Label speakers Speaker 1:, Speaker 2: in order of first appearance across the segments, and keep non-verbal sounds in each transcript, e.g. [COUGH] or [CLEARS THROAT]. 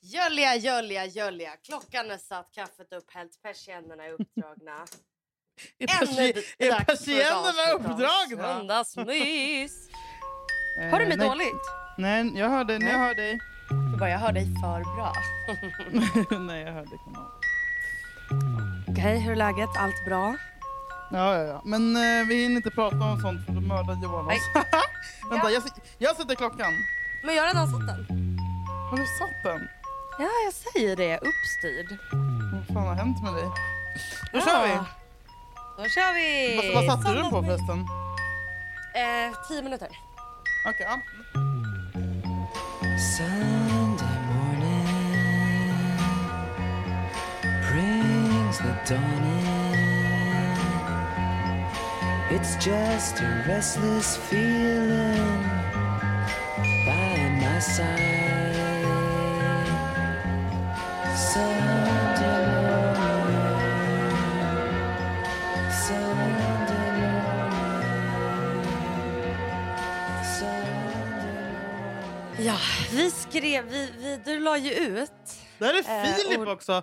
Speaker 1: Jölja, jölja, jölja. Klockan är satt, kaffet upphällt, persiennerna är [LAUGHS] uppdragna.
Speaker 2: Är, persi- är persiennerna uppdragna?
Speaker 1: [LAUGHS] Söndagsmys. Hör du mig
Speaker 2: Eh, nej.
Speaker 1: dåligt?
Speaker 2: Nej, jag hör dig. Nej, jag hör dig.
Speaker 1: Jag bara, jag hör dig för bra.
Speaker 2: [LAUGHS] nej, jag hör dig. Kom ihåg.
Speaker 1: Okej, hur är läget? Allt bra?
Speaker 2: Ja, ja, ja. Men eh, vi hinner inte prata om sånt för då mördar Johan oss. [LAUGHS] Vänta, jag, s- jag sätter klockan.
Speaker 1: Men jag har redan satt den.
Speaker 2: Har du satt den?
Speaker 1: Ja, jag säger det. Uppstyrd.
Speaker 2: Vad fan har hänt med dig? Då kör
Speaker 1: Ah.
Speaker 2: vi!
Speaker 1: Då kör vi!
Speaker 2: Vad, vad satte du den på förresten?
Speaker 1: Eh, tio minuter.
Speaker 2: Okej, ja.
Speaker 3: Sunday morning brings the dawn in. It's just a restless feeling by my side. Sunday morning, Sunday morning, Sunday morning.
Speaker 1: Ja, vi skrev... Vi, vi, du la ju ut...
Speaker 2: Där är
Speaker 1: Eh,
Speaker 2: Filip
Speaker 1: och-
Speaker 2: också!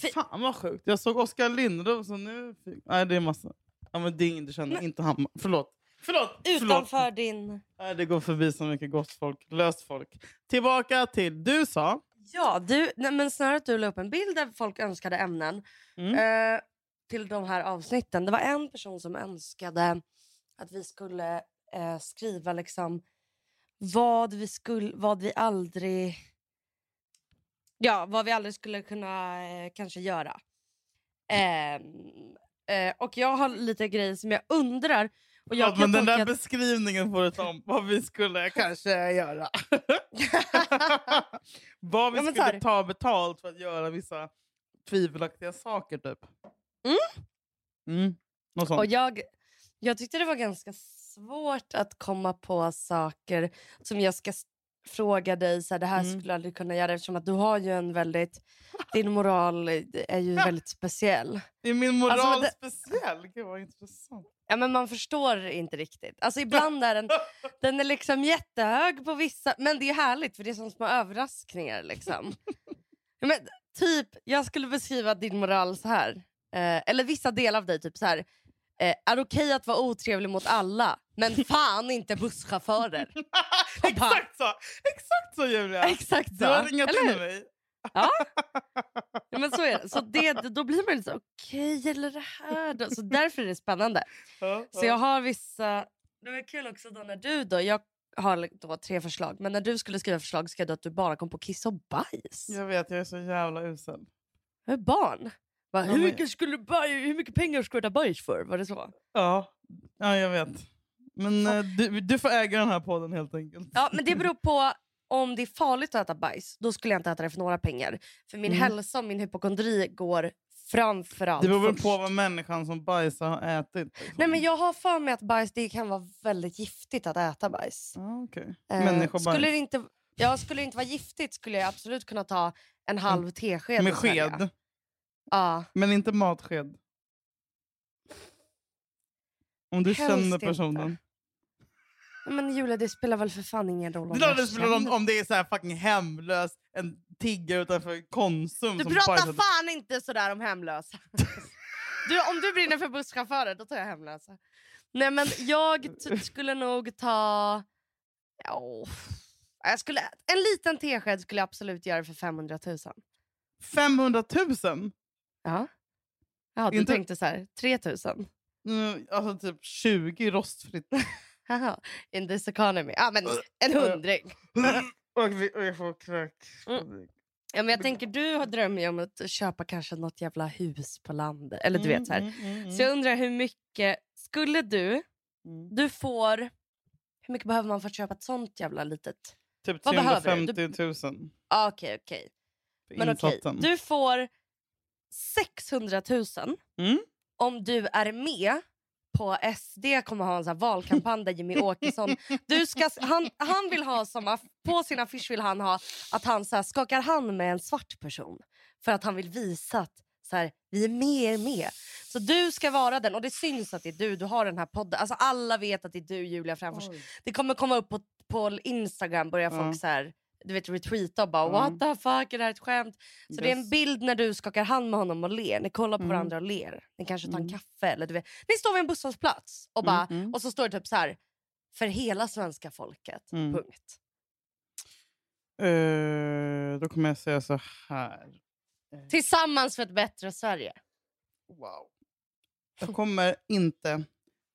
Speaker 1: Fi-
Speaker 2: Fan vad sjukt. Jag såg Oskar Lindros och nu... Nej, det är massa... Ja, men det är ingen du känner. Inte han. Förlåt. Förlåt! Förlåt.
Speaker 1: Utanför din...
Speaker 2: Nej, det går förbi så mycket gott folk. Löst folk. Tillbaka till... Du sa...
Speaker 1: Ja, du, nej, men snarare att du la upp en bild där folk önskade ämnen
Speaker 2: Mm.
Speaker 1: eh, till de här avsnitten. Det var en person som önskade att vi skulle eh, skriva liksom vad vi, skulle, vad vi aldrig... Ja, vad vi aldrig skulle kunna eh, kanske göra. Ehm, eh, och jag har lite grejer som jag undrar. Och jag
Speaker 2: Ja,
Speaker 1: kan
Speaker 2: men den
Speaker 1: tolka
Speaker 2: där
Speaker 1: att-
Speaker 2: beskrivningen får du ta om. Vad
Speaker 1: [LAUGHS]
Speaker 2: vi skulle kanske [LAUGHS] göra. vad vi
Speaker 1: Ja, men så här.
Speaker 2: skulle ta betalt för att göra vissa tvivelaktiga saker, typ. Mm. Något sånt.
Speaker 1: Och jag, jag tyckte det var ganska svårt att komma på saker som jag ska s- fråga dig. Så här, det här
Speaker 2: Mm.
Speaker 1: skulle jag aldrig kunna göra eftersom att du har ju en väldigt... Din moral är ju väldigt speciell.
Speaker 2: Är min moral
Speaker 1: Alltså, men det-
Speaker 2: speciell? Gud, vad intressant. [LAUGHS]
Speaker 1: Ja, men man förstår inte riktigt. Alltså ibland är den, den är liksom jättehög på vissa... Men det är härligt för det är som små överraskningar.
Speaker 2: [LAUGHS]
Speaker 1: Liksom. Ja, men, typ, jag skulle beskriva din moral så här. Eh, eller vissa delar av dig. Typ så här. Eh, är okej att vara otrevlig mot alla,
Speaker 2: [LAUGHS]
Speaker 1: men fan inte busschaufförer. Och bara,
Speaker 2: Exakt så! Exakt så, Julia!
Speaker 1: Exakt så.
Speaker 2: Du har ringat
Speaker 1: Eller hur?
Speaker 2: in mig.
Speaker 1: Ja, men så är det. Så det, då blir man lite så, okej, gäller det här då? Så därför är det spännande.
Speaker 2: Ja,
Speaker 1: Så jag
Speaker 2: ja.
Speaker 1: har vissa... Det var kul också då när du då... Jag har då tre förslag, men när du skulle skriva förslag skrev du att du bara kom på kiss och bajs.
Speaker 2: jag vet, jag är så jävla usel.
Speaker 1: Jag är barn. Bara,
Speaker 2: Ja,
Speaker 1: hur,
Speaker 2: men-
Speaker 1: mycket skulle baj, hur mycket pengar skulle du ha bajs för? Var det så?
Speaker 2: Ja, ja jag vet. Men
Speaker 1: Ja.
Speaker 2: eh, du, du får äga den här podden helt enkelt.
Speaker 1: Ja, men det beror på om det är farligt att äta bajs. Då skulle jag inte äta det för några pengar. För min
Speaker 2: Mm.
Speaker 1: hälsa och min hypokondri går framförallt
Speaker 2: det beror väl
Speaker 1: först.
Speaker 2: på vad människan som bajsar har ätit. liksom.
Speaker 1: Nej, men jag har för mig att bajs det kan vara väldigt giftigt att äta bajs.
Speaker 2: Ja, okej.
Speaker 1: Eh,
Speaker 2: Människobajs.
Speaker 1: skulle det inte, ja, skulle det inte vara giftigt skulle jag absolut kunna ta en halv tesked.
Speaker 2: Mm. Med
Speaker 1: och svälja.
Speaker 2: sked,
Speaker 1: Ja.
Speaker 2: men inte matsked. Om du
Speaker 1: Helst
Speaker 2: känner
Speaker 1: inte.
Speaker 2: personen.
Speaker 1: Men Julia, det spelar väl för fan ingen roll
Speaker 2: Det är
Speaker 1: om
Speaker 2: klart
Speaker 1: jag
Speaker 2: det spelar roll om,
Speaker 1: känner-
Speaker 2: om det är så här fucking hemlös, en tiggare utanför Konsum
Speaker 1: Du
Speaker 2: som
Speaker 1: pratar
Speaker 2: bajsar.
Speaker 1: fan inte sådär om hemlösa. [LAUGHS] Du, om du brinner för busschaufförer, då tar jag hemlösa. Nej, men jag t- skulle nog ta... Ja, åh. jag skulle, en liten tesked skulle jag absolut göra för 500 000.
Speaker 2: 500 000?
Speaker 1: Ja. Ja, du
Speaker 2: Inte-
Speaker 1: tänkte så här, 3 000.
Speaker 2: Mm, alltså typ 20 rostfritt.
Speaker 1: [LAUGHS] Haha, In this economy. Ja,
Speaker 2: Äh,
Speaker 1: men en hundring.
Speaker 2: och, vi, och jag får kräk.
Speaker 1: Mm. Ja, men jag tänker, du har drömmer ju om att köpa kanske något jävla hus på landet. Eller du vet så här.
Speaker 2: Mm, mm, mm,
Speaker 1: Så jag undrar hur mycket skulle du...
Speaker 2: mm.
Speaker 1: Du får... Hur mycket behöver man för att köpa ett sånt jävla litet...
Speaker 2: Typ
Speaker 1: Vad behöver
Speaker 2: 350
Speaker 1: du?
Speaker 2: 000
Speaker 1: Ah, okej, okej.
Speaker 2: för
Speaker 1: Men okej,
Speaker 2: insatsen.
Speaker 1: du får 600 000
Speaker 2: Mm.
Speaker 1: om du är med på SD kommer ha en sån här valkampanj där Jimmy
Speaker 2: [LAUGHS]
Speaker 1: Åkesson... Du ska, han, han vill ha som, aff- på sin affisch vill han ha att han så här, skakar hand med en svart person för att han vill visa att så här, vi är med er med. Så du ska vara den och det syns att det är du. Du har den här podden. Alltså, alla vet att det är du Julia Fränfors. Det kommer komma upp på, på Instagram börjar folk
Speaker 2: Ja.
Speaker 1: så här du vet, retweeta och bara
Speaker 2: Mm.
Speaker 1: “what the fuck, är det här ett skämt?” Så det är en
Speaker 2: Yes.
Speaker 1: bild när du skakar hand med honom och ler. Ni kollar på
Speaker 2: Mm.
Speaker 1: varandra och ler. Ni kanske tar en
Speaker 2: Mm.
Speaker 1: kaffe. Eller du vet. Ni står vid en busshållplats och, bara,
Speaker 2: Mm, mm.
Speaker 1: och så står det typ så här “för hela svenska folket”.
Speaker 2: Mm.
Speaker 1: Punkt.
Speaker 2: Eh, då kommer jag säga så här.
Speaker 1: Tillsammans för ett bättre Sverige.
Speaker 2: Wow. Jag kommer inte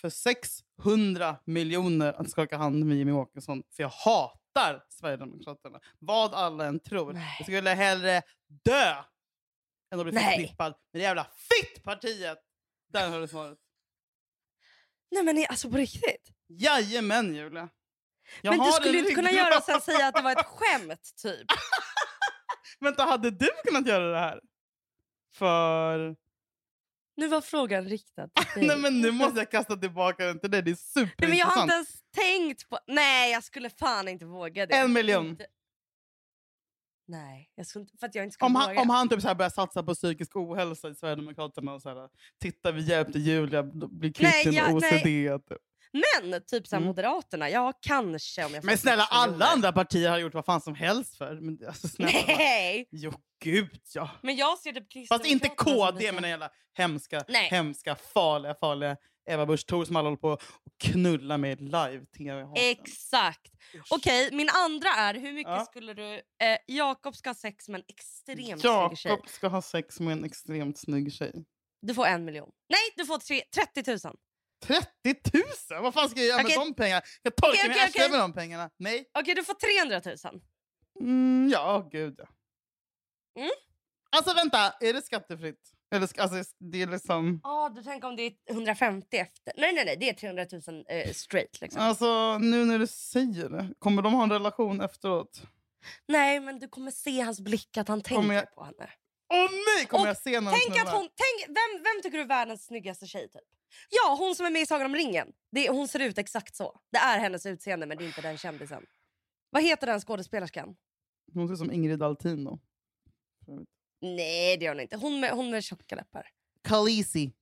Speaker 2: för 600 miljoner att skaka hand med Jimmy Åkesson för jag hatar Sverigedemokraterna. Vad alla än tror.
Speaker 1: Nej.
Speaker 2: Jag skulle hellre dö än att bli
Speaker 1: Nej.
Speaker 2: förknippad med det jävla fittpartiet. Där har du svaret.
Speaker 1: Nej men ni- alltså på riktigt.
Speaker 2: Jajamän, Julia. Jag
Speaker 1: men
Speaker 2: har
Speaker 1: du
Speaker 2: en
Speaker 1: skulle ju inte kunna
Speaker 2: ryggrad.
Speaker 1: göra och sen säga att det var ett skämt typ.
Speaker 2: [LAUGHS] Vänta, hade du kunnat göra det här? För...
Speaker 1: Nu var frågan riktad till dig.
Speaker 2: Nej, men nu måste jag kasta tillbaka den till dig. Det är
Speaker 1: Nej, men jag har
Speaker 2: superintressant.
Speaker 1: inte ens tänkt på... Nej, jag skulle fan inte våga det.
Speaker 2: En miljon.
Speaker 1: Inte... Nej, jag skulle inte... för att jag inte skulle
Speaker 2: Om han,
Speaker 1: våga.
Speaker 2: om han typ så här börjar satsa på psykisk ohälsa i Sverigedemokraterna och så här, titta vi hjälpte Julia bli kvitt
Speaker 1: Nej,
Speaker 2: en
Speaker 1: jag-
Speaker 2: OCD. typ.
Speaker 1: Men typ så här
Speaker 2: Mm.
Speaker 1: Moderaterna, ja kanske om jag
Speaker 2: Men
Speaker 1: får
Speaker 2: snälla,
Speaker 1: första
Speaker 2: alla
Speaker 1: jobbet.
Speaker 2: andra partier har gjort vad fan som helst för. Men, det- alltså, snälla,
Speaker 1: [LAUGHS]
Speaker 2: va?
Speaker 1: Nej!
Speaker 2: Jo, gud ja.
Speaker 1: Men jag ser typ
Speaker 2: Fast
Speaker 1: Kristdemokraterna
Speaker 2: inte
Speaker 1: som
Speaker 2: KD
Speaker 1: lite-
Speaker 2: med den jävla hemska,
Speaker 1: Nej.
Speaker 2: hemska, farliga, farliga Eva Busch Thor som alla håller på och knulla med live-tv.
Speaker 1: Exakt. Okej, min andra är hur mycket
Speaker 2: Ja.
Speaker 1: skulle du... Eh, Jakob ska ha sex med en extremt snygg tjej.
Speaker 2: Jakob ska ha sex med en extremt snygg tjej.
Speaker 1: Du får en miljon. Nej, du får tre, 30 000.
Speaker 2: 30 000? Vad fan ska jag göra
Speaker 1: Okej.
Speaker 2: med de pengarna? Jag torkar
Speaker 1: Okej,
Speaker 2: mig
Speaker 1: okej,
Speaker 2: i arslet
Speaker 1: okej.
Speaker 2: med de pengarna. Nej.
Speaker 1: Okej, du får 300 000.
Speaker 2: Mm, ja, gud ja.
Speaker 1: Mm.
Speaker 2: Alltså vänta, är det skattefritt? Eller, ska- alltså, det är liksom...
Speaker 1: Ja, du tänker om det är 150 efter. Nej, nej, nej, det är 300 000 eh, straight. Liksom.
Speaker 2: Alltså nu när du säger det, kommer de ha en relation efteråt?
Speaker 1: Nej, men du kommer se hans blick att han tänker
Speaker 2: Kommer jag-
Speaker 1: på henne.
Speaker 2: Åh nej, kommer
Speaker 1: Och
Speaker 2: jag se någon
Speaker 1: Tänk att
Speaker 2: snubbe?
Speaker 1: hon, tänk, vem, vem tycker du är världens snyggaste tjej? Typ? Ja, hon som är med i Sagan om ringen. Det, är- hon ser ut exakt så. Det är hennes utseende, men det är inte den kändisen. Vad heter den skådespelerskan?
Speaker 2: Hon ser ut som Ingrid Altin då.
Speaker 1: Nej, det gör hon inte. Hon med, hon med tjocka läppar.
Speaker 2: Khaleesi.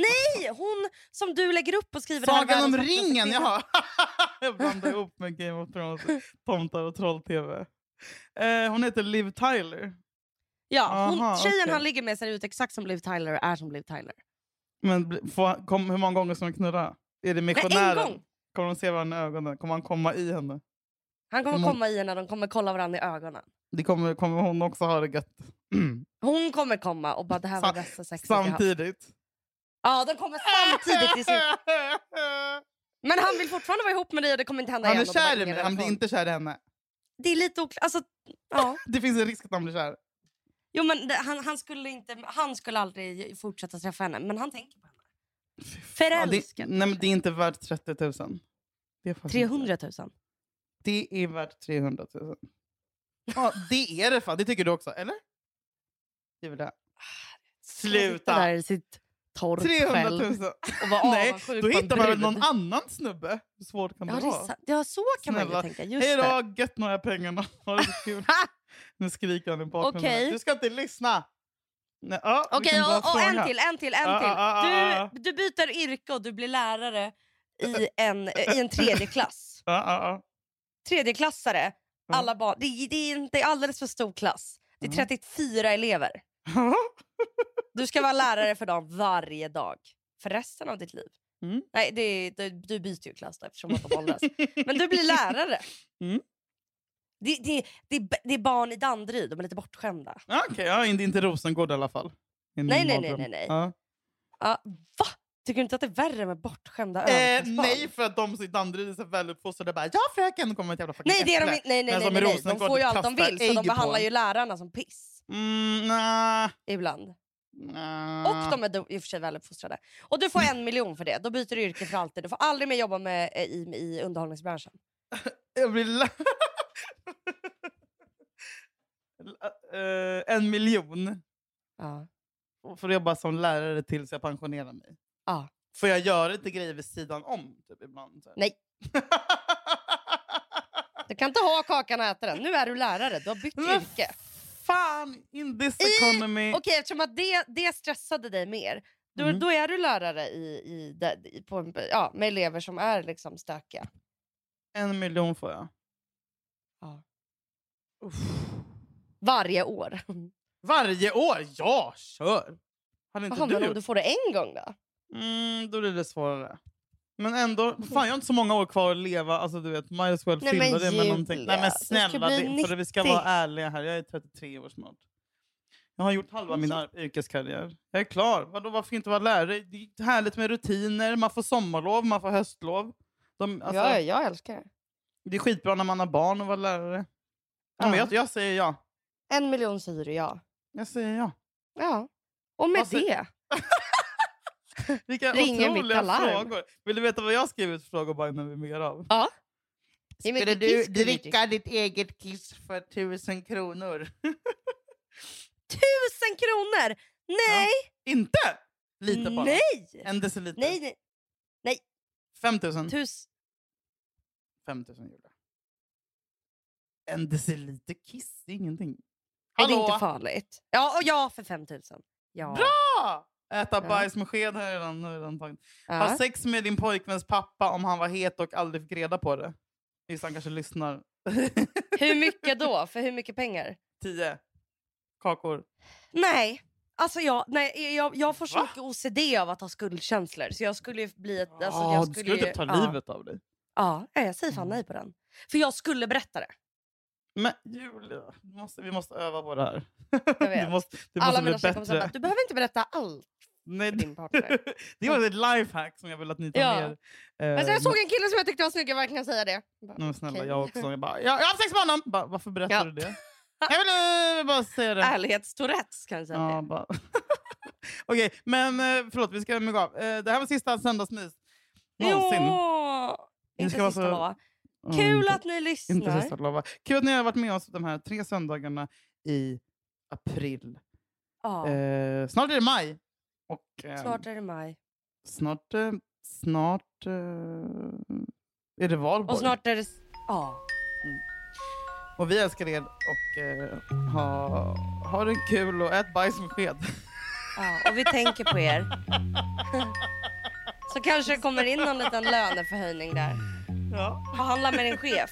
Speaker 1: Nej, hon som du lägger upp och skriver... det här är
Speaker 2: Sagan om
Speaker 1: världens vackraste
Speaker 2: ringen,
Speaker 1: kvinna.
Speaker 2: jaha! [LAUGHS] jag blandade ihop med Game
Speaker 1: [LAUGHS]
Speaker 2: of Thrones, tomtar och troll-tv. Eh, hon heter Liv Tyler.
Speaker 1: Ja, hon,
Speaker 2: Aha,
Speaker 1: tjejen
Speaker 2: okej.
Speaker 1: han ligger med ser ut exakt som Liv Tyler och är som Liv Tyler.
Speaker 2: Men bli- får, kom, hur många gånger ska de knulla? Är
Speaker 1: Nej,
Speaker 2: det
Speaker 1: en
Speaker 2: missionären?
Speaker 1: gång!
Speaker 2: Kommer de se varandra i ögonen? Kommer han komma i henne?
Speaker 1: Han kommer
Speaker 2: Men hon-
Speaker 1: komma i när de kommer kolla varandra i ögonen.
Speaker 2: Det kommer, kommer hon också ha det
Speaker 1: [CLEARS THROAT]
Speaker 2: gött
Speaker 1: Hon kommer komma och bara det här var
Speaker 2: Sa-
Speaker 1: bästa sexet jag haft.
Speaker 2: samtidigt.
Speaker 1: Ja, de kommer samtidigt i
Speaker 2: [LAUGHS]
Speaker 1: sin... Men han vill fortfarande vara ihop med dig och det kommer inte hända
Speaker 2: Han är
Speaker 1: igen. och de har
Speaker 2: kär i
Speaker 1: ingen
Speaker 2: mig, han blir
Speaker 1: relation.
Speaker 2: inte kär i henne.
Speaker 1: Det är lite oklart. Alltså, ja.
Speaker 2: Det finns en risk att han blir kär.
Speaker 1: Jo, men det, han, han, skulle inte, han skulle aldrig fortsätta träffa henne, men han tänker på henne.
Speaker 2: Ja, det,
Speaker 1: Förälskad.
Speaker 2: nej, men det är inte värt 30 000. Det är faktiskt inte.
Speaker 1: 300 000.
Speaker 2: Det är värt 300 000. Ja, det är det fan. Det tycker du också, eller?
Speaker 1: Ah,
Speaker 2: Julia.
Speaker 1: Han sitter
Speaker 2: Sluta!
Speaker 1: Där i sitt torp
Speaker 2: 300
Speaker 1: själv
Speaker 2: 000.
Speaker 1: och var
Speaker 2: Nej,
Speaker 1: avundsjuk
Speaker 2: Då
Speaker 1: på en
Speaker 2: hittar man väl
Speaker 1: brud.
Speaker 2: någon annan snubbe. Hur svårt kan det
Speaker 1: Ja, det
Speaker 2: vara?
Speaker 1: är, sant. ja, så kan man ju
Speaker 2: Snälla.
Speaker 1: tänka. Just
Speaker 2: Hej
Speaker 1: det.
Speaker 2: då, gött några pengarna. [LAUGHS] Ha det så kul. nu skriker han i bakgrunden.
Speaker 1: Okej.
Speaker 2: Du ska inte lyssna. Nej, ja,
Speaker 1: Okej,
Speaker 2: vilken bra
Speaker 1: och, och en
Speaker 2: fråga.
Speaker 1: till, en till, en
Speaker 2: Liksom Ah, ah, ah,
Speaker 1: till.
Speaker 2: ah,
Speaker 1: Du, du byter yrke och du blir lärare i en, eh, i en tredje klass.
Speaker 2: Ja, ja, ja.
Speaker 1: Tredjeklassare,
Speaker 2: Ja. Mm.
Speaker 1: alla barn. Det, är- det, är en- det är alldeles för stor klass. Det är
Speaker 2: Ja.
Speaker 1: 34 elever. Du ska vara lärare för dem varje dag. För resten av ditt liv.
Speaker 2: Mm.
Speaker 1: Nej, det, är- du, du byter ju klass då, eftersom att de åldras. Men du blir lärare.
Speaker 2: Mm.
Speaker 1: Det, det, det, är b- det är barn i Danderyd, de är lite bortskämda.
Speaker 2: [LAUGHS] Ja, Okej, ja, inte, inte Rosengård i alla fall. I min
Speaker 1: Nej, nej,
Speaker 2: mardröm.
Speaker 1: nej, nej, nej.
Speaker 2: Ja.
Speaker 1: Ja, va? Tycker du inte att det är värre med bortskämda
Speaker 2: Eh,
Speaker 1: överklassbarn?
Speaker 2: nej, för att de som i Danderyd är så väluppfostrade bara “ja fröken” kommer ett jävla fucking
Speaker 1: Nej, det är de
Speaker 2: äpple.
Speaker 1: inte. Nej, nej,
Speaker 2: Men
Speaker 1: nej,
Speaker 2: som
Speaker 1: nej, nej. De
Speaker 2: Rosengård
Speaker 1: får ju allt de
Speaker 2: kastar
Speaker 1: vill, så
Speaker 2: ägg på
Speaker 1: de behandlar
Speaker 2: en.
Speaker 1: ju lärarna som piss
Speaker 2: Mm, nah,
Speaker 1: ibland.
Speaker 2: nah.
Speaker 1: Och de är do- i och för sig väluppfostrade. Och du får en miljon för det. Då byter du yrke för alltid. Du får aldrig mer jobba med, eh, i, i underhållningsbranschen.
Speaker 2: Jag blir la- [LAUGHS] Eh, en miljon
Speaker 1: Ja.
Speaker 2: för att jobba som lärare tills jag pensionerar mig.
Speaker 1: Ja.
Speaker 2: Får jag göra lite grejer vid sidan om? Typ, ibland, så här?
Speaker 1: Nej. Du kan inte ha kakan och äta den. Nu är du lärare. Du har bytt
Speaker 2: [LAUGHS] Men
Speaker 1: yrke.
Speaker 2: Fan, in this economy.
Speaker 1: Okej, eftersom att det, det stressade dig mer. Då,
Speaker 2: Mm.
Speaker 1: då är du lärare i, i, där- i, på en, ja, med elever som är liksom stökiga.
Speaker 2: En miljon får jag.
Speaker 1: Varje år.
Speaker 2: Varje år? Ja, kör! Hade
Speaker 1: Vad
Speaker 2: inte
Speaker 1: handlar
Speaker 2: du
Speaker 1: det om
Speaker 2: gjort?
Speaker 1: du får det en gång då?
Speaker 2: Mm, då blir det svårare. Men ändå, fan jag har inte så många år kvar att leva. Alltså du vet, might as well
Speaker 1: Nej,
Speaker 2: fylla
Speaker 1: men
Speaker 2: det med någonting.
Speaker 1: Julia,
Speaker 2: Nej men
Speaker 1: du ska
Speaker 2: snälla,
Speaker 1: bli
Speaker 2: det, för vi ska
Speaker 1: 90.
Speaker 2: vara ärliga här. Jag är 33 år snart. Jag har gjort halva min
Speaker 1: Alltså.
Speaker 2: ar- yrkeskarriär. Jag är klar. Vadå, varför inte vara lärare? Det är härligt med rutiner. Man får sommarlov, man får höstlov. De, alltså,
Speaker 1: ja, jag älskar det.
Speaker 2: Det är skitbra när man har barn och vara lärare. Ja.
Speaker 1: Ja.
Speaker 2: Men jag, jag säger ja.
Speaker 1: En miljon säger du ja.
Speaker 2: Jag säger ja.
Speaker 1: Ja. Och med
Speaker 2: Vad säger-
Speaker 1: det.
Speaker 2: Vilka
Speaker 1: Ringer mitt
Speaker 2: otroliga
Speaker 1: alarm.
Speaker 2: frågor. Vill du veta vad jag skrivit för frågor bara innan vi mer av?
Speaker 1: Ge mig
Speaker 2: Skulle
Speaker 1: lite
Speaker 2: du
Speaker 1: kiss, Gulli.
Speaker 2: dricka ditt eget kiss för tusen kronor?
Speaker 1: Tusen kronor! Nej!
Speaker 2: [LAUGHS] Inte! Lite bara.
Speaker 1: Nej!
Speaker 2: En deciliter.
Speaker 1: Nej, nej.
Speaker 2: Fem tusen.
Speaker 1: Tus...
Speaker 2: Fem tusen Julia. En deciliter kiss, det är ingenting.
Speaker 1: Är det
Speaker 2: Hallå?
Speaker 1: inte farligt? Ja, och ja för 5 000. Ja.
Speaker 2: Bra! Äta
Speaker 1: Ja.
Speaker 2: bajs med sked har jag redan, har jag redan tagit. Ha
Speaker 1: Ja.
Speaker 2: sex med din pojkväns pappa om han var het och aldrig fick reda på det. Just han kanske lyssnar.
Speaker 1: [LAUGHS]
Speaker 2: [LAUGHS]
Speaker 1: Hur mycket då? För hur mycket pengar?
Speaker 2: Tio. Kakor.
Speaker 1: Nej. Alltså jag, nej, jag, jag får så
Speaker 2: Va?
Speaker 1: mycket OCD av att ha skuldkänslor. Så jag skulle ju bli ett... Alltså,
Speaker 2: Ja,
Speaker 1: jag
Speaker 2: du
Speaker 1: skulle
Speaker 2: skulle
Speaker 1: ju-
Speaker 2: typ ta
Speaker 1: ja.
Speaker 2: livet Mm. av dig.
Speaker 1: Ja, nej, jag säger fan nej på den. För jag skulle berätta det.
Speaker 2: Men Julia, vi måste, vi måste öva på det här. [LAUGHS]
Speaker 1: Jag vet.
Speaker 2: Du måste, du
Speaker 1: Alla
Speaker 2: måste
Speaker 1: mina
Speaker 2: bli
Speaker 1: tjejkompisar bara,
Speaker 2: bättre.
Speaker 1: du behöver inte berätta allt
Speaker 2: Nej,
Speaker 1: för
Speaker 2: det-
Speaker 1: din
Speaker 2: [LAUGHS]
Speaker 1: partner. Alltså,
Speaker 2: det var ett lifehack som jag vill att ni tar
Speaker 1: Ja.
Speaker 2: ner.
Speaker 1: Alltså, jag
Speaker 2: Eh, Mm.
Speaker 1: såg en kille som jag tyckte var snygg, jag vill verkligen säga det. Jag bara,
Speaker 2: Nej, men snälla,
Speaker 1: okej.
Speaker 2: jag också. Jag, bara, jag, jag har haft sex med honom! Bara, varför berättar
Speaker 1: Ja.
Speaker 2: du det? [LAUGHS] Jag vill eh, bara säga det.
Speaker 1: Ärlighetstourettes kan jag säga att det
Speaker 2: Ja,
Speaker 1: är.
Speaker 2: bara. [LAUGHS] Okej, men eh, förlåt, vi ska mygga av. Eh, Det här var sista söndagsmys. Någonsin.
Speaker 1: Ja,
Speaker 2: Ni
Speaker 1: inte
Speaker 2: ska vara
Speaker 1: sista
Speaker 2: så-
Speaker 1: lova.
Speaker 2: Ja,
Speaker 1: Kul
Speaker 2: inte,
Speaker 1: att ni lyssnar.
Speaker 2: inte sista lova. Kul att ni har varit med oss de här tre söndagarna i april.
Speaker 1: ja,
Speaker 2: Eh, snart är det maj. Och, eh,
Speaker 1: snart är det maj.
Speaker 2: snart, eh, snart eh, är det valborg.
Speaker 1: Och snart är det... s- Ja.
Speaker 2: Och vi älskar er och eh, ha, ha det kul och ät bajs
Speaker 1: [LAUGHS]
Speaker 2: med sked.
Speaker 1: ja, och vi tänker på er. Så kanske det kommer in någon liten löneförhöjning där.
Speaker 2: Ja.
Speaker 1: Förhandla med din chef.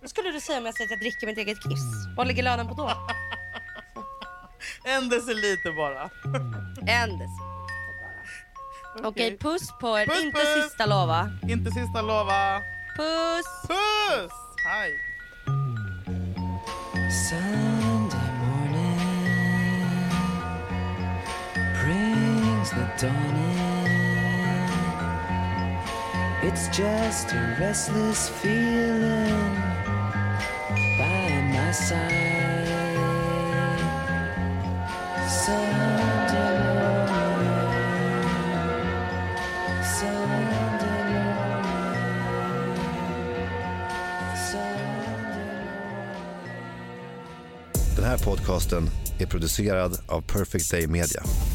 Speaker 1: Vad skulle du säga om jag säger att jag dricker mitt eget kiss? Vad ligger lönen på då?
Speaker 2: En deciliter bara.
Speaker 1: En deciliter bara. Okej, puss på er.
Speaker 2: Puss,
Speaker 1: inte
Speaker 2: puss.
Speaker 1: sista lova.
Speaker 2: Inte sista lova.
Speaker 1: Puss!
Speaker 2: Puss! Hej!
Speaker 3: Sunday morning brings the dawn in. It's just a restless feeling by my side. Sunday morning, Sunday morning, Sunday morning.
Speaker 4: Den här podcasten är producerad av Perfect Day Media.